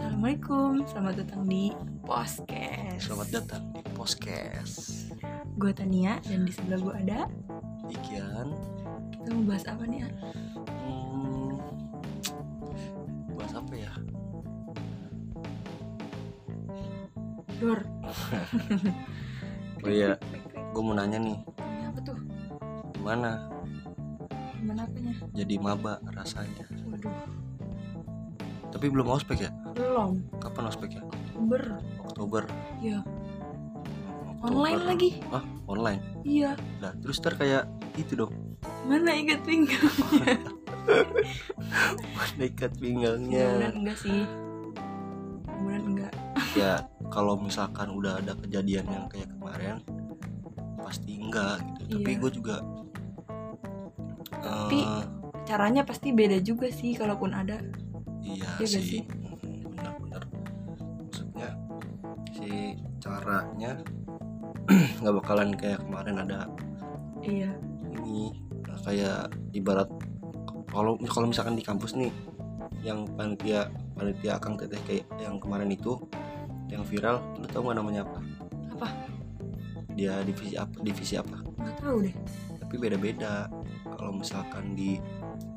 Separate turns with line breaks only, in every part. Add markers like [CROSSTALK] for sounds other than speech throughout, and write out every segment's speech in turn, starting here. Assalamualaikum, selamat datang di Podcast
Selamat datang di Podcast
Gue Tania dan di sebelah gue ada
Ikian
Kita mau bahas apa nih? An?
hmm, Bahas apa ya?
Dor
Oh iya,
Krik, krik,
gue mau nanya nih
krik. Ini apa tuh?
Gimana
Gimana apanya?
jadi maba rasanya
Waduh,
Tapi belum ospek ya?
belum
Kapan ospeknya?
Ber,
Oktober
ya
Oktober.
online lagi
Ah, online
Iya,
Nah, terus ntar kayak itu dong [LAUGHS]
mana ikat pinggang?
Dekat
Mudah-mudahan
pinggangnya
enggak sih Mudah-mudahan enggak
Ya, kalau misalkan udah ada kejadian yang kayak kemarin Pasti enggak gitu Tapi
Iya.
gue juga
Tapi-
eh,
Caranya pasti beda juga sih, kalaupun ada
Iya
Iya nggak sih?
sih, Mm, benar-benar. Maksudnya si caranya [CLEARS THROAT] nggak bakalan kayak kemarin ada
Iya,
ini Nah, kayak ibarat kalau kalau misalkan di kampus nih yang panitia panitia Kang Teteh kayak yang kemarin itu yang viral lu tau nggak namanya apa?
Apa?
Dia divisi apa? Divisi apa?
nggak tahu deh
Tapi beda-beda. Kalau misalkan di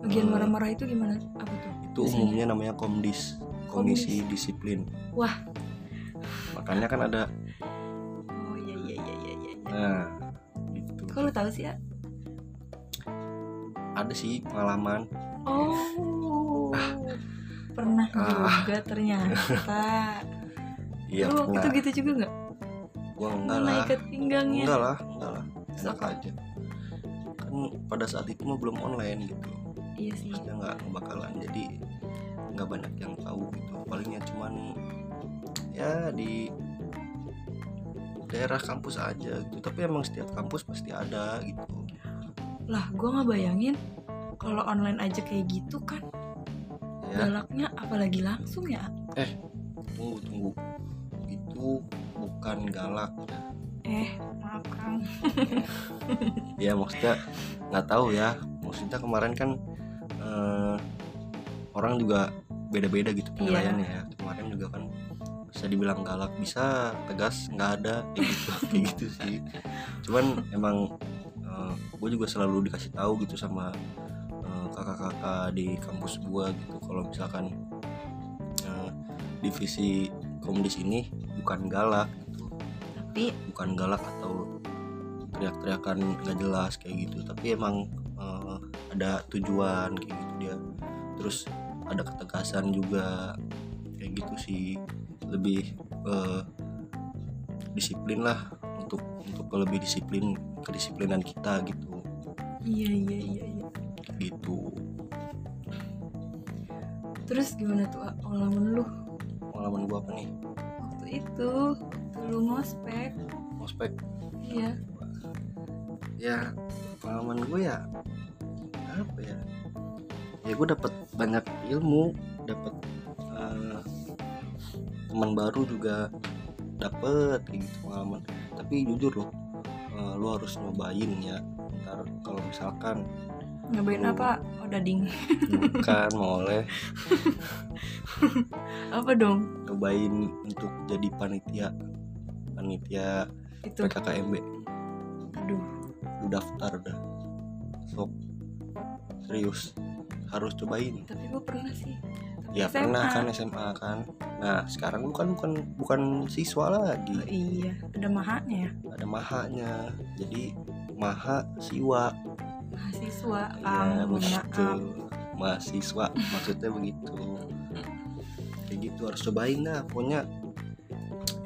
Bagian
Eh.
marah-marah itu gimana? Apa tuh?
itu
Biasanya.
umumnya namanya komdis, komisi disiplin.
Wah.
Makanya kan ada
Oh iya iya iya iya iya
Nah, gitu.
Kok lu tau sih ya?
Ada sih pengalaman.
Oh Pernah
Ah.
juga
[LAUGHS]
ternyata
Iya,
Lu waktu itu
pernah.
gitu juga gak?
Gua enggak
Mana
lah.
ikat pinggangnya?
Enggak lah, enggak lah.
Terus
Enak
apa?
aja. Kan pada saat itu mah belum online gitu.
Iya sih
Maksudnya enggak bakalan jadi enggak banyak yang tahu gitu. Palingnya cuman ya di daerah kampus aja gitu. Tapi emang setiap kampus pasti ada gitu.
Lah gue gak bayangin kalau online aja kayak gitu kan
Ya,
galaknya apalagi langsung ya
tunggu tunggu. Itu bukan galak.
eh maaf kang
ya maksudnya nggak tahu ya maksudnya kemarin kan eh, orang juga beda-beda gitu penilaiannya ya kemarin juga kan bisa dibilang galak bisa tegas nggak ada kayak gitu [LAUGHS] kayak gitu sih cuman emang gue juga selalu dikasih tahu gitu sama eh, kakak-kakak di kampus gue gitu kalau misalkan eh, divisi komdis ini bukan galak gitu
tapi
bukan galak atau teriak-teriakan nggak jelas kayak gitu tapi emang eh, ada tujuan kayak gitu dia terus ada ketegasan juga kayak gitu sih lebih eh, disiplin lah untuk untuk lebih disiplin kedisiplinan kita gitu
iya iya iya iya
gitu
terus gimana tuh A, pengalaman lu
pengalaman gua apa nih
waktu itu waktu lu ngospek
ospek
iya
ya pengalaman gue ya apa ya ya gue dapat banyak ilmu dapat eh, teman baru juga dapat kayak gitu pengalaman tapi jujur loh eh, lo harus nyobain ya ntar kalau misalkan
nyobain apa oh dading
bukan mau oleh
apa dong
nyobain untuk jadi panitia panitia
itu
PKKMB
aduh
lu daftar dah sok serius harus cobain
tapi gue pernah sih Tapi
Ya
SMA.
pernah kan SMA kan. Nah sekarang lu kan bukan bukan siswa
Oh,
lagi,
iya ada mahanya ya
ada mahanya. Jadi maha siwa.
mahasiswa ah
Ya,
mohon
begitu.
maaf
Mahasiswa maksudnya begitu. Kayak gitu harus cobain lah pokoknya.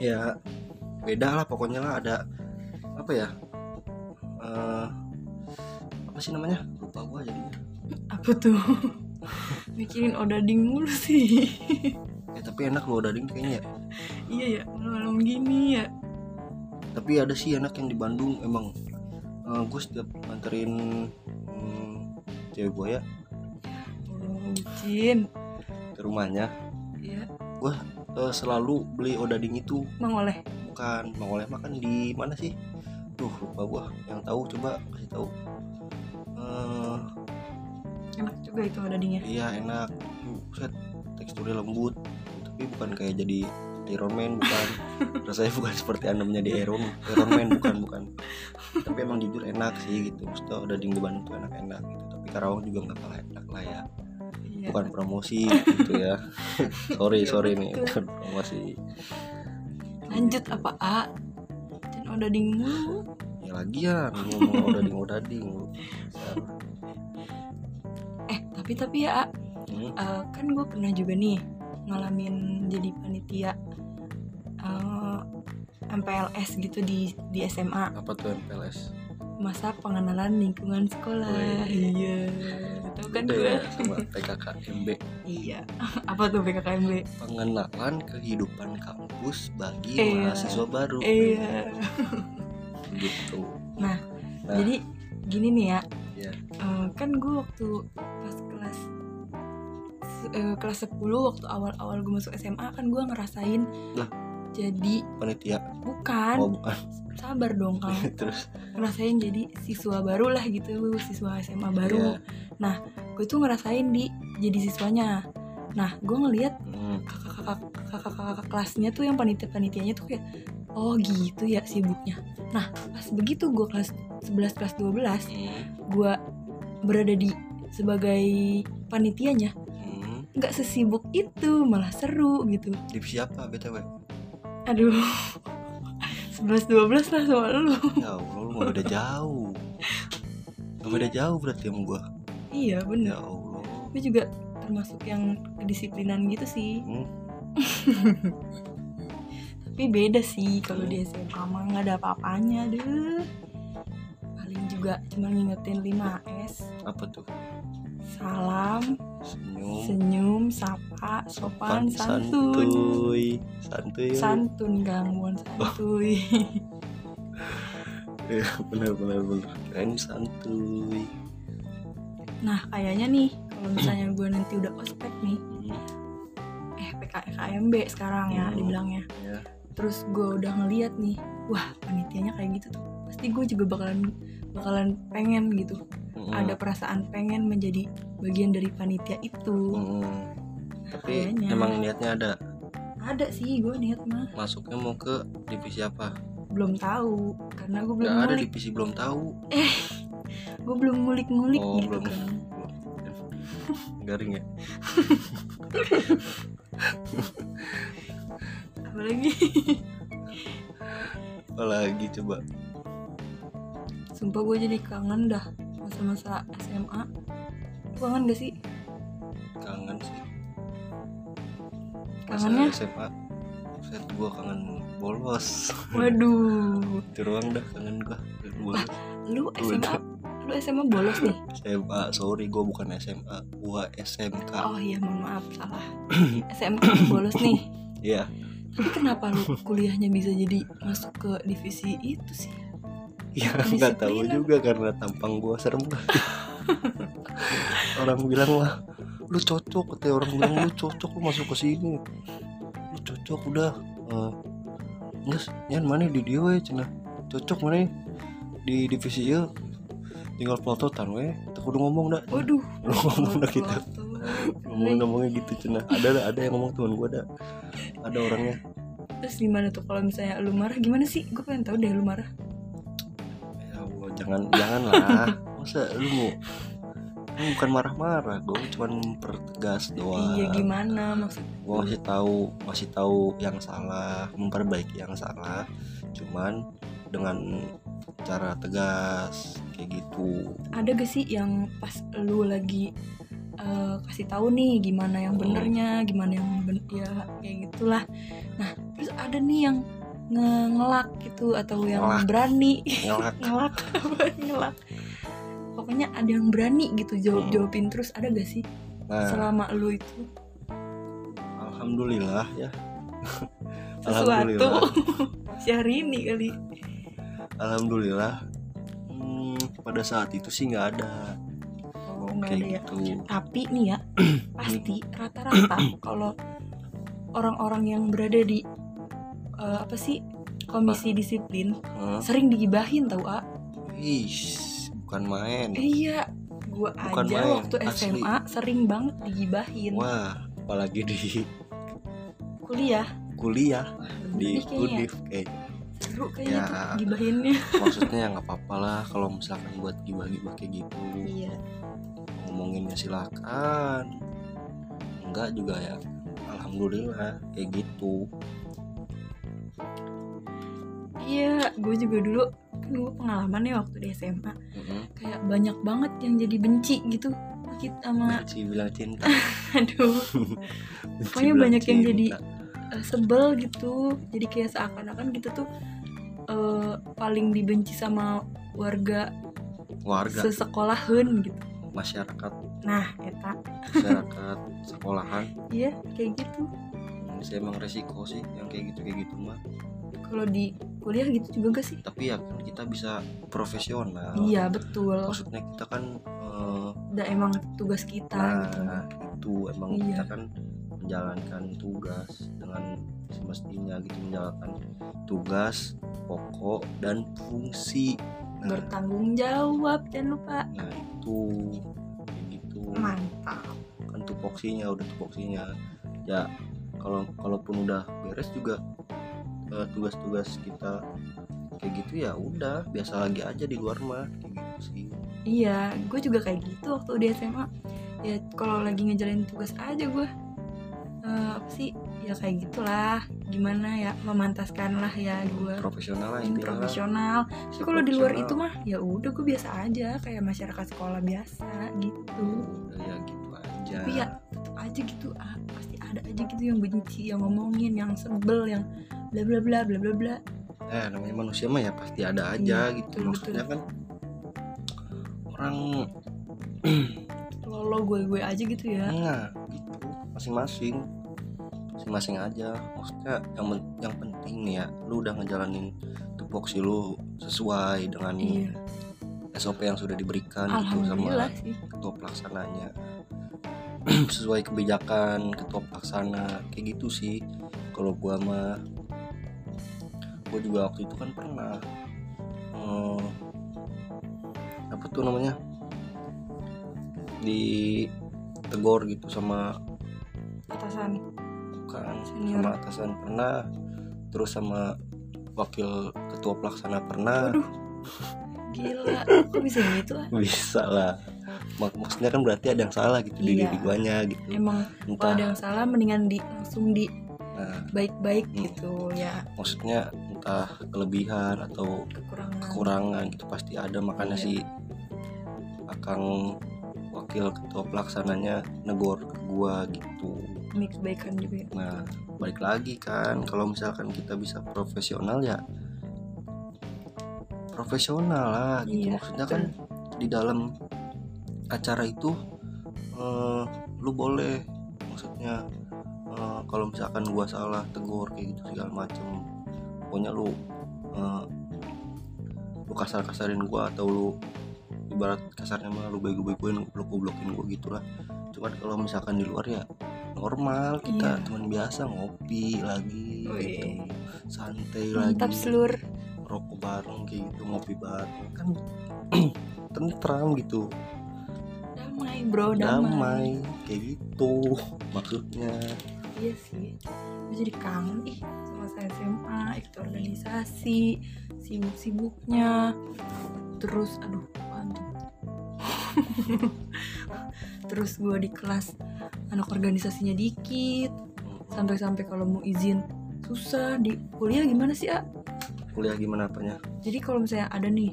Ya beda lah pokoknya lah ada apa ya? Eh, apa sih namanya? Lupa gua jadinya.
apa tuh mikirin oh dading mulu sih
Ya tapi enak loh dading kayaknya. ya.
iya ya malam-malam gini ya
tapi ada sih anak yang di Bandung emang gue setiap nganterin mm, cewek gue ya
Allah bucin
ke rumahnya
iya
eh, selalu beli odading itu
Mang Oleh
bukan mau oleh makan di mana sih tuh lupa gue yang tahu coba kasih tahu Eh,
enak juga itu oh dadingnya
iya enak Tuh, set teksturnya lembut tapi bukan kayak jadi Iron Man
[LAUGHS]
bukan rasanya bukan seperti anda menjadi Iron Iron Man bukan bukan tapi emang jujur enak sih gitu maksudnya udah di Bandung tuh enak-enak gitu tapi Karawang juga nggak kalah enak lah ya
Iya.
bukan promosi gitu ya [LAUGHS] sorry
Iya,
sorry nih
betul.
bukan promosi
Lanjut apa A? Dan odading mulu.
ya lagian ngomong udah
[LAUGHS]
ding udah ding
Eh tapi tapi ya A,
hmm,
eh, kan gue pernah juga nih ngalamin jadi panitia eh, MPLS gitu di di SMA
apa tuh MPLS
masa pengenalan lingkungan sekolah.
Wih.
Iya. Tahu kan
Udah
gue?
ya, sama PKKMB
Iya. [LAUGHS] apa tuh PKKMB?
pengenalan kehidupan kampus bagi
Iya.
mahasiswa baru
Iya.
gitu
Nah,
Nah,
Jadi gini nih ya.
Iya.
Eh, kan gue waktu pas kelas se- eh, kelas 10 waktu awal-awal gue masuk SMA kan gue ngerasain
Lah.
jadi
panitia
bukan
oh bukan
sabar dong kang
[LAUGHS] terus
ngerasain jadi siswa baru lah gitu siswa SMA baru
Iya.
gue tuh ngerasain di jadi siswanya nah gue ngeliat
Hmm,
kakak-kakak kakak-kakak kelasnya tuh yang panitia-panitianya tuh kayak oh gitu ya sibuknya nah pas begitu gue kelas 11 kelas 12
hmm,
gue berada di sebagai panitianya
hmm.
nggak sesibuk itu malah seru gitu
Divisi apa BTW?
aduh [LAUGHS] 11 12 lah sama lu
Ya Allah, lu nggak beda jauh Gak beda jauh berarti sama gua
iya
Ya
bener
Allah
gue juga termasuk yang kedisiplinan gitu sih
Hmm.
tapi beda sih kalau di SMA mah nggak ada apa-apanya deh paling juga cuma ngingetin 5S
Apa tuh?
salam
Senyum
senyum sapa sopan santun
santuy Santuy
santun gangguan santuy
[LAUGHS] Iya, [LAUGHS] Bener bener bener Keren santuy
Nah, kayaknya nih kalau misalnya gue nanti udah ospek nih,
Hmm,
eh PKKMB sekarang ya
Hmm.
dibilangnya.
ya.
Terus gue udah ngeliat nih, wah panitianya kayak gitu tuh. Pasti gue juga bakalan bakalan pengen gitu.
Hmm,
Ada perasaan pengen menjadi bagian dari panitia itu.
hmm. Tapi
Kayaknya.
emang niatnya ada
Ada sih gue niat mah,
Masuknya mau ke divisi apa?
belum tahu karena gue belum
Gak ada
ngulik,
divisi belum tahu
gue belum ngulik-ngulik
Oh,
gitu
belum.
kan.
Garing ya?
Apalagi
Apalagi coba
sumpah gue jadi kangen dah masa-masa SMA. Lu Kangen gak sih?
Kangen sih Masa
Kangennya?
SMA Set gua kangen bolos
Waduh.
Itu doang dah kangen gua Kangen bolos
lu SMA
Udah.
lu SMA bolos nih
SMA sorry gua bukan SMA gua SMK
oh iya mohon maaf
[CLEARS THROAT]
salah SMA bolos nih
Iya
tapi kenapa lu kuliahnya bisa jadi masuk ke divisi itu sih
Iya
Kedisiplinan.
[LAUGHS] nggak tahu juga karena tampang gua serem [LAUGHS] kali. Orang bilang wah lu cocok kata orang bilang lu cocok lu masuk ke sini lu cocok udah Eh, nges nyan mana di dia we cenah cocok mana ya?" di divisi ya tinggal pelototan we tak kudu ngomong dah
waduh
lu ngomong dah Oh, kita
Waktu-
ngomong ngomongnya gitu cenah ada dah, ada yang ngomong teman gua ada ada orangnya
terus gimana tuh kalau misalnya lu marah gimana sih gue pengen tahu deh lu marah
Ya Allah, jangan [LAUGHS] janganlah. Masa lu mau [LAUGHS] lu bukan marah-marah, gue cuma mempertegas doang.
iya gimana maksud
Gue masih tahu, masih tahu yang salah, memperbaiki yang salah. Cuman dengan cara tegas kayak gitu.
ada gak sih yang pas lu lagi eh, kasih tahu nih gimana yang
Hmm.
benernya gimana yang ben ya kayak gitulah nah terus ada nih yang nge- ngelak gitu atau yang
Ngelak.
berani
[LAUGHS] Iya, Ngelak.
ngelak apa ngelak pokoknya ada yang berani gitu jawab
Hmm.
jawabin terus ada gak sih
Nah,
selama lu itu
alhamdulillah ya.
sesuatu [LAUGHS] si hari ini kali
Alhamdulillah. Hmm, pada saat itu sih nggak ada
oh, nggak ada ya
kayak gitu.
tapi nih
[CLEARS THROAT]
ya pasti rata-rata kalau orang-orang yang berada di eh, apa sih komisi disiplin
Ah. Hah?
sering digibahin tau ah
Ih, bukan main.
iya gua
Bukan
aja
main,
waktu
asli.
SMA sering banget digibahin
Wah, apalagi di
kuliah
kuliah
Ih,
di eh,
kayaknya
Unif kayak
seru kayaknya
Ya.
tuh gibahinnya
maksudnya ya nggak apa-apa lah kalau misalkan buat gibah-gibah kayak gitu
iya
ngomonginnya silakan enggak juga ya alhamdulillah kayak gitu
iya gue juga dulu kan gue pengalaman nih waktu di SMA
Mm-mm.
kayak banyak banget yang jadi benci gitu sakit sama [LAUGHS]
benci Nah, bilang cinta
aduh
Benci
Pokoknya
bilang
banyak yang
cinta.
jadi- eh, sebel gitu jadi kayak seakan-akan kita tuh eh, paling dibenci sama warga
warga
sesekolahan gitu
masyarakat
nah eta
masyarakat sekolahan
iya kayak gitu
Hmm, saya emang resiko sih yang kayak gitu kayak gitu mah
kalau di kuliah gitu juga gak sih
tapi ya kan kita bisa profesional
iya betul
maksudnya kita kan eh,
udah emang tugas kita gitu
nah itu emang
Iya.
kita kan menjalankan tugas dengan semestinya gitu menjalankan tugas pokok dan fungsi nah,
bertanggung jawab jangan lupa
nah itu kayak gitu
mantap
kan tupoksinya udah tupoksinya ya kalau kalaupun udah beres juga eh, tugas-tugas kita kayak gitu ya udah biasa lagi aja di luar mah kayak gitu sih
iya gue juga kayak gitu waktu di SMA ya kalau lagi ngejalanin tugas aja gue Eh, apa sih ya kayak gitulah gimana ya memantaskan lah ya gue
profesional lah
main
intinya lah.
profesional tapi kalau di luar itu
Profesional.
mah ya udah gue biasa aja kayak masyarakat sekolah biasa gitu
udah ya gitu aja
tapi ya tetap aja gitu ah, pasti ada aja gitu yang benci yang ngomongin yang sebel yang bla bla bla bla bla bla
eh namanya manusia mah ya pasti ada aja
Iya,
gitu
betul,
maksudnya kan orang
lolo gue gue aja gitu ya
nah gitu masing-masing masing-masing aja maksudnya yang men- yang penting nih ya lu udah ngejalanin tupoksi lu sesuai dengan
iya
SOP yang sudah diberikan gitu sama
alhamdulillah sih
ketua pelaksananya [CLEARS THROAT] sesuai kebijakan ketua pelaksana kayak gitu sih kalau gua mah gua juga waktu itu kan pernah eh, apa tuh namanya ditegor gitu sama
atasan
bukan
Senior.
sama atasan pernah terus sama wakil ketua pelaksana pernah
waduh gila kok bisa gitu ah
[LAUGHS] bisa lah Mak- maksudnya kan berarti ada yang salah gitu di
Iya.
diri guanya gitu
emang kalau
entah
ada yang salah mendingan di langsung di
nah,
baik-baik
Hmm.
gitu ya
maksudnya entah kelebihan atau
kekurangan
kekurangan gitu pasti ada makanya
Iya.
si akang wakil ketua pelaksananya negor ke gua gitu
demi kebaikan juga ya.
nah balik lagi kan kalau misalkan kita bisa profesional ya profesional lah
Iya,
gitu maksudnya kan di dalam acara itu eh, lu boleh maksudnya eh, kalau misalkan gua salah tegur kayak gitu segala macem pokoknya lu eh, lu kasar kasarin gua atau lu ibarat kasarnya mah lu bego begoin goblok goblokin gua gitulah cuman kalau misalkan di luar ya normal kita
Iya.
cuman biasa ngopi lagi
Wih.
gitu santai
mantap
lagi
seluruh
rokok bareng kayak gitu ngopi bareng kan [CLEARS THROAT] tentram gitu
damai bro damai.
damai kayak gitu [LAUGHS] maksudnya
iya sih gue jadi kangen ih sama saya SMA ikut organisasi sibuk-sibuknya terus aduh [LAUGHS] apaan tuh? terus gue di kelas anak organisasinya dikit sampai-sampai kalau mau izin susah di kuliah gimana sih ah
kuliah gimana apanya
jadi kalau misalnya ada nih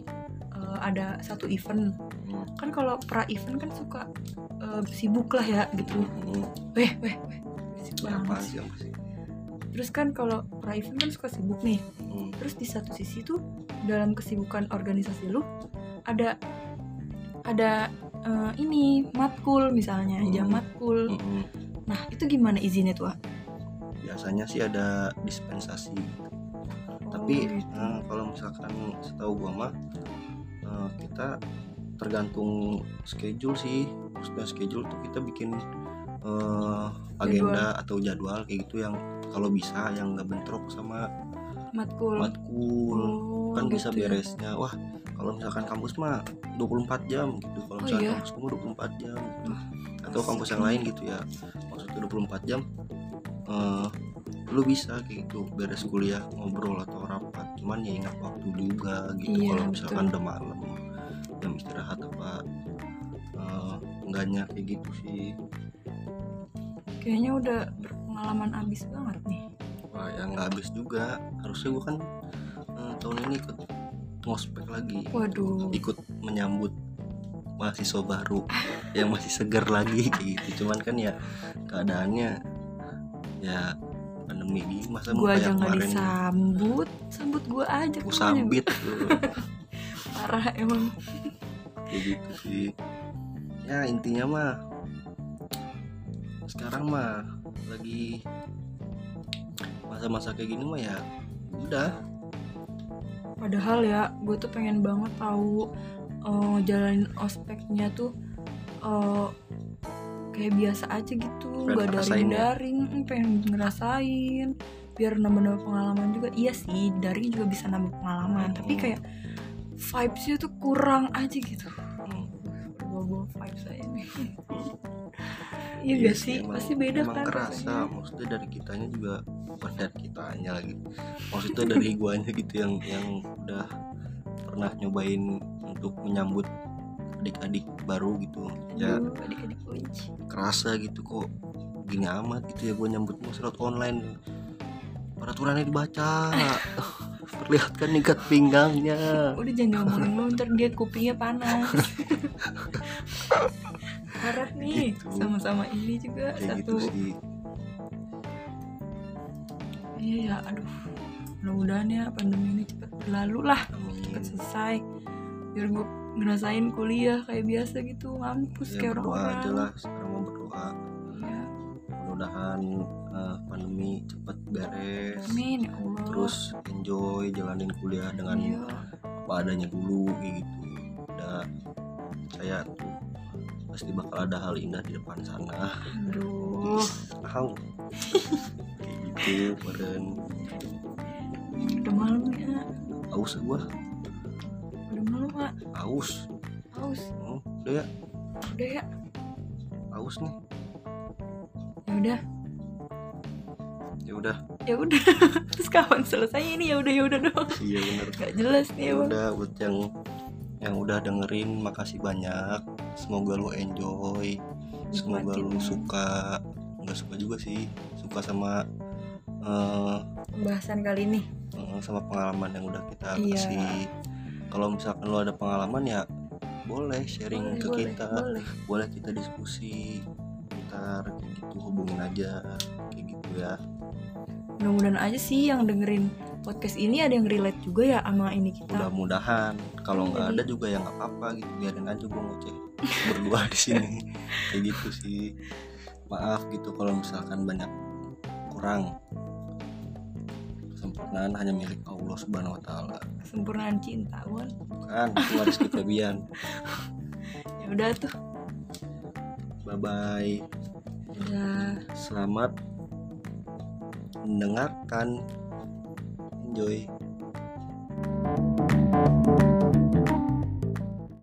eh, ada satu event
Hmm.
kan kalau pra event kan suka eh, sibuk lah ya gitu
Hmm.
weh weh weh Berisik
Ya, apa
banget sih.
sih apa sih
Terus kan kalau private kan suka sibuk nih.
Hmm.
Terus di satu sisi tuh dalam kesibukan organisasi lu ada ada eh, ini matkul misalnya jam
Hmm.
matkul.
Hmm.
Nah itu gimana izinnya tuh? Ah?
biasanya sih ada dispensasi tapi
Oh, gitu.
eh, kalau misalkan setahu gua mah eh, kita tergantung schedule sih maksudnya schedule tuh kita bikin eh, agenda atau jadwal kayak gitu yang kalau bisa yang nggak bentrok sama
matkul.
matkul
Oh,
kan bisa
gitu ya.
beresnya wah kalau misalkan kampus mah 24 jam gitu kalau
Oh,
misalkan
iya?
kampus kamu 24 jam gitu.
Wah,
atau kampus gitu
asik
yang lain
nih.
gitu ya maksudnya 24 jam eh, lu bisa kayak gitu beres kuliah ngobrol atau rapat cuman ya ingat waktu juga gitu
Iya,
kalau misalkan udah malam jam istirahat apa eh, enggaknya kayak gitu sih
kayaknya udah berpengalaman abis banget nih
Wah, ya nggak habis juga harusnya gua kan eh, tahun ini ikut ngospek lagi
waduh
ikut menyambut mahasiswa baru yang masih segar lagi kayak gitu cuman kan ya keadaannya ya pandemi gini masa mau
gua aja
kayak
nggak
kemarin
disambut sambut gua aja
aku
kemana gua?
sambit lu.
parah emang
kayak gitu sih ya intinya mah sekarang mah lagi masa-masa kayak gini mah ya udah
padahal ya gue tuh pengen banget tahu eh, jalanin ospeknya tuh eh, kayak biasa aja gitu nggak
ngerasain
daring
ya?
daring mm, pengen ngerasain biar nambah-nambah pengalaman juga iya sih daring juga bisa nambah pengalaman tapi
Hmm.
kayak vibesnya tuh kurang aja gitu
Hmm.
bawa-bawa vibes aja
[LAUGHS]
nih iya gak sih
emang-
pasti beda
emang
kan
kerasa
rasanya.
maksudnya dari kitanya juga bukan dari kitanya lagi maksudnya
[LAUGHS]
dari guanya gitu yang yang udah pernah nyobain untuk menyambut adik-adik baru gitu ya
Aduh, adik-adik kunci
kerasa gitu kok gini amat gitu ya gue nyambut surat online peraturannya
[LAUGHS]
dibaca perlihatkan ikat pinggangnya
udah jangan ngomongin lu ntar dia kupingnya panas harap nih
Gitu.
sama-sama ini juga
kayak gitu
satu
sih
iya ya aduh mudah-mudahan ya pandemi ini cepet berlalu lah
amin
cepet selesai biar gue ngerasain kuliah kayak biasa gitu ngampus
ya
kayak
berdoa
orang-orang
aja lah sekarang mau berdoa
Iya.
mudah-mudahan eh, pandemi cepat beres
amin ya Allah
terus enjoy jalanin kuliah dengan
Iya.
apa adanya dulu kayak gitu udah saya tuh pasti bakal ada hal indah di depan sana
aduh
[LAUGHS] Au. kayak gitu badan
udah malam ya
aus gua
udah malam mak
aus
haus
oh, udah ya
udah ya
aus nih
ya udah
ya udah
ya udah [LAUGHS] terus kapan selesai ini ya udah ya udah doang
iya bener
gak jelas nih
ya
emang
udah buat yang yang udah dengerin makasih banyak semoga lu enjoy semoga lu
Nikmatin.
suka nggak suka juga sih suka sama eh,
pembahasan kali ini
eh, sama pengalaman yang udah kita
Iya.
kasih kalau misalkan lu ada pengalaman ya boleh
boleh,
sharing ke
boleh,
kita
boleh.
boleh kita diskusi ntar kayak gitu hubungin aja kayak gitu ya
mudah-mudahan aja sih yang dengerin podcast ini ada yang relate juga ya sama ini kita
mudah-mudahan kalau nggak
Jadi-
ada juga ya nggak apa-apa gitu biarin aja gue ngoceh berdua di sini kayak gitu sih maaf gitu kalau misalkan banyak kurang kesempurnaan hanya milik Allah Subhanahu Wa Taala
kesempurnaan cinta Wan
bukan itu Rizky Febian
ya udah tuh
bye bye
udah
selamat mendengarkan enjoy